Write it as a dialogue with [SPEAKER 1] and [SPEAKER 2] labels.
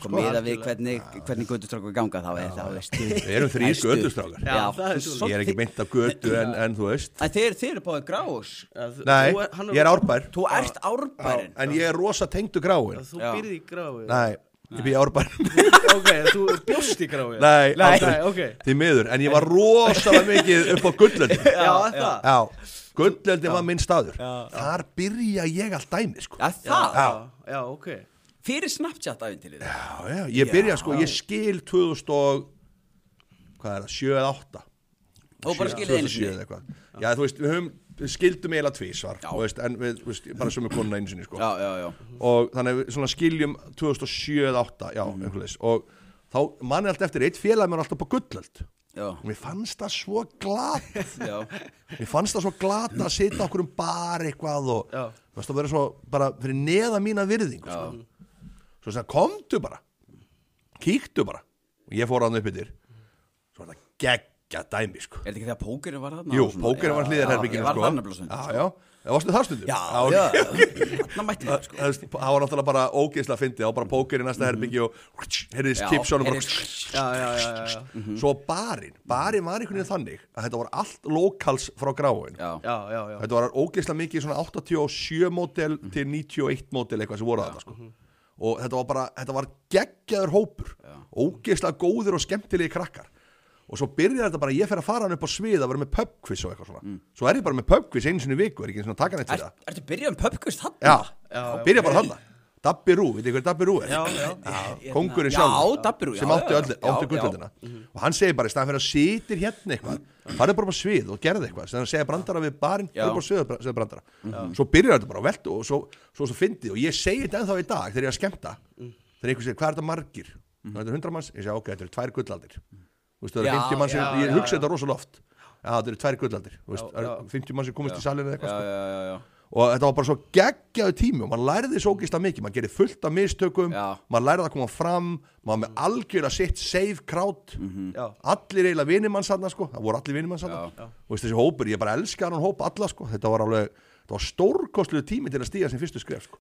[SPEAKER 1] Sko miða við hvernig, hvernig göttustrákur ganga þá er það, veist
[SPEAKER 2] Við erum þrýr
[SPEAKER 1] Æstu.
[SPEAKER 2] göttustrákar
[SPEAKER 1] Já,
[SPEAKER 3] það er svo-
[SPEAKER 2] Ég er ekki mynd af götu en, en þú veist
[SPEAKER 1] Æ, þeir, þeir eru báðið gráðs
[SPEAKER 2] Nei, ég er árbær
[SPEAKER 1] Þú ert árbærin
[SPEAKER 2] En ég er rosa tengdu gráin
[SPEAKER 3] Þú
[SPEAKER 1] Já.
[SPEAKER 3] byrði í gráu
[SPEAKER 2] Nei, ég býði árbær
[SPEAKER 3] Ok, þú bjóst í gráu
[SPEAKER 2] Nei,
[SPEAKER 3] Nei,
[SPEAKER 2] aldrei.
[SPEAKER 3] ok.
[SPEAKER 2] Því miður, en ég var rosalega mikið upp á gullöldin
[SPEAKER 3] Já, er það
[SPEAKER 2] Já, gullöldin var minn staður Þar byrja ég allt dæmi sko.
[SPEAKER 1] Já, það,
[SPEAKER 2] Já.
[SPEAKER 3] Já, já, ok
[SPEAKER 1] fyrir Snapchat afintilið
[SPEAKER 2] Já, já, ég byrja sko, ég skil 2000 og hvað er það, 7 eða 8
[SPEAKER 1] Og bara skilið einu sinni
[SPEAKER 2] eitthvað Já, þú veist, við höfum, við skildum eiginlega tvísvar
[SPEAKER 1] Já.
[SPEAKER 2] þú veist, en við, þú veist, bara sömu konuna einu sinni sko.
[SPEAKER 1] Já, já, já
[SPEAKER 2] og þannig að við svona skiljum 2007 eða 8, já,
[SPEAKER 1] Mhm.
[SPEAKER 2] mm. einhverleis og þá manni allt eftir eitt félag mér alltaf på gullöld
[SPEAKER 1] Já,
[SPEAKER 2] og mér fannst það svo glat
[SPEAKER 1] já,
[SPEAKER 2] mér fannst það svo glat að sitja okkur um bar eitthvað og
[SPEAKER 3] Já.
[SPEAKER 2] þú veist, það verður svo bara fyrir neða mína virðingu sko. svo sem komdu bara kíktu bara og ég fór hann upp yfir svo var það geggja dæmi sko.
[SPEAKER 1] er þetta ekki þegar pókerinn var þarna?
[SPEAKER 2] jú,
[SPEAKER 1] og svona?
[SPEAKER 2] pókerinn var
[SPEAKER 1] Já,
[SPEAKER 2] hlýðar
[SPEAKER 1] já,
[SPEAKER 2] herbygginu
[SPEAKER 1] Ég var
[SPEAKER 2] sko.
[SPEAKER 1] þarna blóðsund
[SPEAKER 2] já, já, það varstu það stundum
[SPEAKER 1] Já,
[SPEAKER 2] ok.
[SPEAKER 1] já, þarna mætti
[SPEAKER 2] Það
[SPEAKER 1] ég sko
[SPEAKER 2] það veist, það var náttúrulega bara ógeðslega fyndið og bara póker í næsta herbyggi og heyrðið
[SPEAKER 1] Mhm. Já, Mhm.
[SPEAKER 2] skipsjónum bara
[SPEAKER 1] heyrðist-
[SPEAKER 3] Já, já, já, já, já.
[SPEAKER 2] svo barinn, barinn var einhvern veginn þannig að þetta var allt lokals frá gráin
[SPEAKER 1] Já,
[SPEAKER 3] Já, já, já
[SPEAKER 2] þetta var ógeðslega mikið svona 87 módel til 91 módel eitthvað sem voru þarna sko. og þetta var bara, þetta var geggjaður hópur ógeðslega góðir og skemmtilegi krakkar og svo byrjar þetta bara, ég fer að fara hann upp á svið að vera með pubquiz og eitthvað svona svo er ég bara með pubquiz einu sinni í viku, er ekki svona takan eitt
[SPEAKER 1] Er,
[SPEAKER 2] fyrir það
[SPEAKER 1] ertu byrjað um pubquiz þarna?
[SPEAKER 2] Já, já byrja bara þarna Dabbi Rú, veitir hver Dabbi Rú er?
[SPEAKER 3] Já, já.
[SPEAKER 2] Kongurinn
[SPEAKER 1] Já,
[SPEAKER 2] sjálf
[SPEAKER 1] Dabbi Rú, já,
[SPEAKER 2] Sem
[SPEAKER 1] já,
[SPEAKER 2] átti
[SPEAKER 1] já. Já,
[SPEAKER 2] öllu,
[SPEAKER 1] já.
[SPEAKER 2] átti
[SPEAKER 1] Mhm.
[SPEAKER 2] gullöldina Og hann segir bara, í staðan fyrir að sitir hérna eitthvað Farðu bara upp á svið og gerði eitthvað Þannig að segja brandara við barinn,
[SPEAKER 1] Já. Mhm.
[SPEAKER 2] farðu bara svið og segja brandara Svo byrjar þetta bara og veltu og svo, svo, svo fyndið Og ég segi þetta ennþá í dag þegar ég er að skemmta Þegar einhver segir, hvað er þetta margir? Mm. Þetta er 100 manns, ég segi, ok, þetta eru tvær gullaldir Þú veist, það eru
[SPEAKER 1] Já,
[SPEAKER 2] 50 manns,
[SPEAKER 3] já,
[SPEAKER 2] sem- ég
[SPEAKER 3] já,
[SPEAKER 2] hugsa
[SPEAKER 3] já.
[SPEAKER 2] þetta rosalega oft Já, þetta eru tvær gullaldir, þú veist,
[SPEAKER 3] Já,
[SPEAKER 2] það
[SPEAKER 3] já.
[SPEAKER 2] eru 50 manns sem komist í salinu eða eitthvað
[SPEAKER 1] Já,
[SPEAKER 2] sko
[SPEAKER 1] já, já, já
[SPEAKER 2] og þetta var bara svo geggjaðu tími og maður lærði svo ógist að mikið, maður gerir fullt af mistökum
[SPEAKER 1] Já.
[SPEAKER 2] maður lærði að koma fram maður með algjör að sitt save crowd
[SPEAKER 3] Já,
[SPEAKER 2] allir eiginlega vinnumannsatna sko, það voru allir vinnumannsatna
[SPEAKER 1] Mhm. Já.
[SPEAKER 2] og veist, þessi hópur, ég bara elska hann hóp alla sko, þetta var alveg, þetta var stórkostluðu tími til að stíga sem fyrstu skref sko.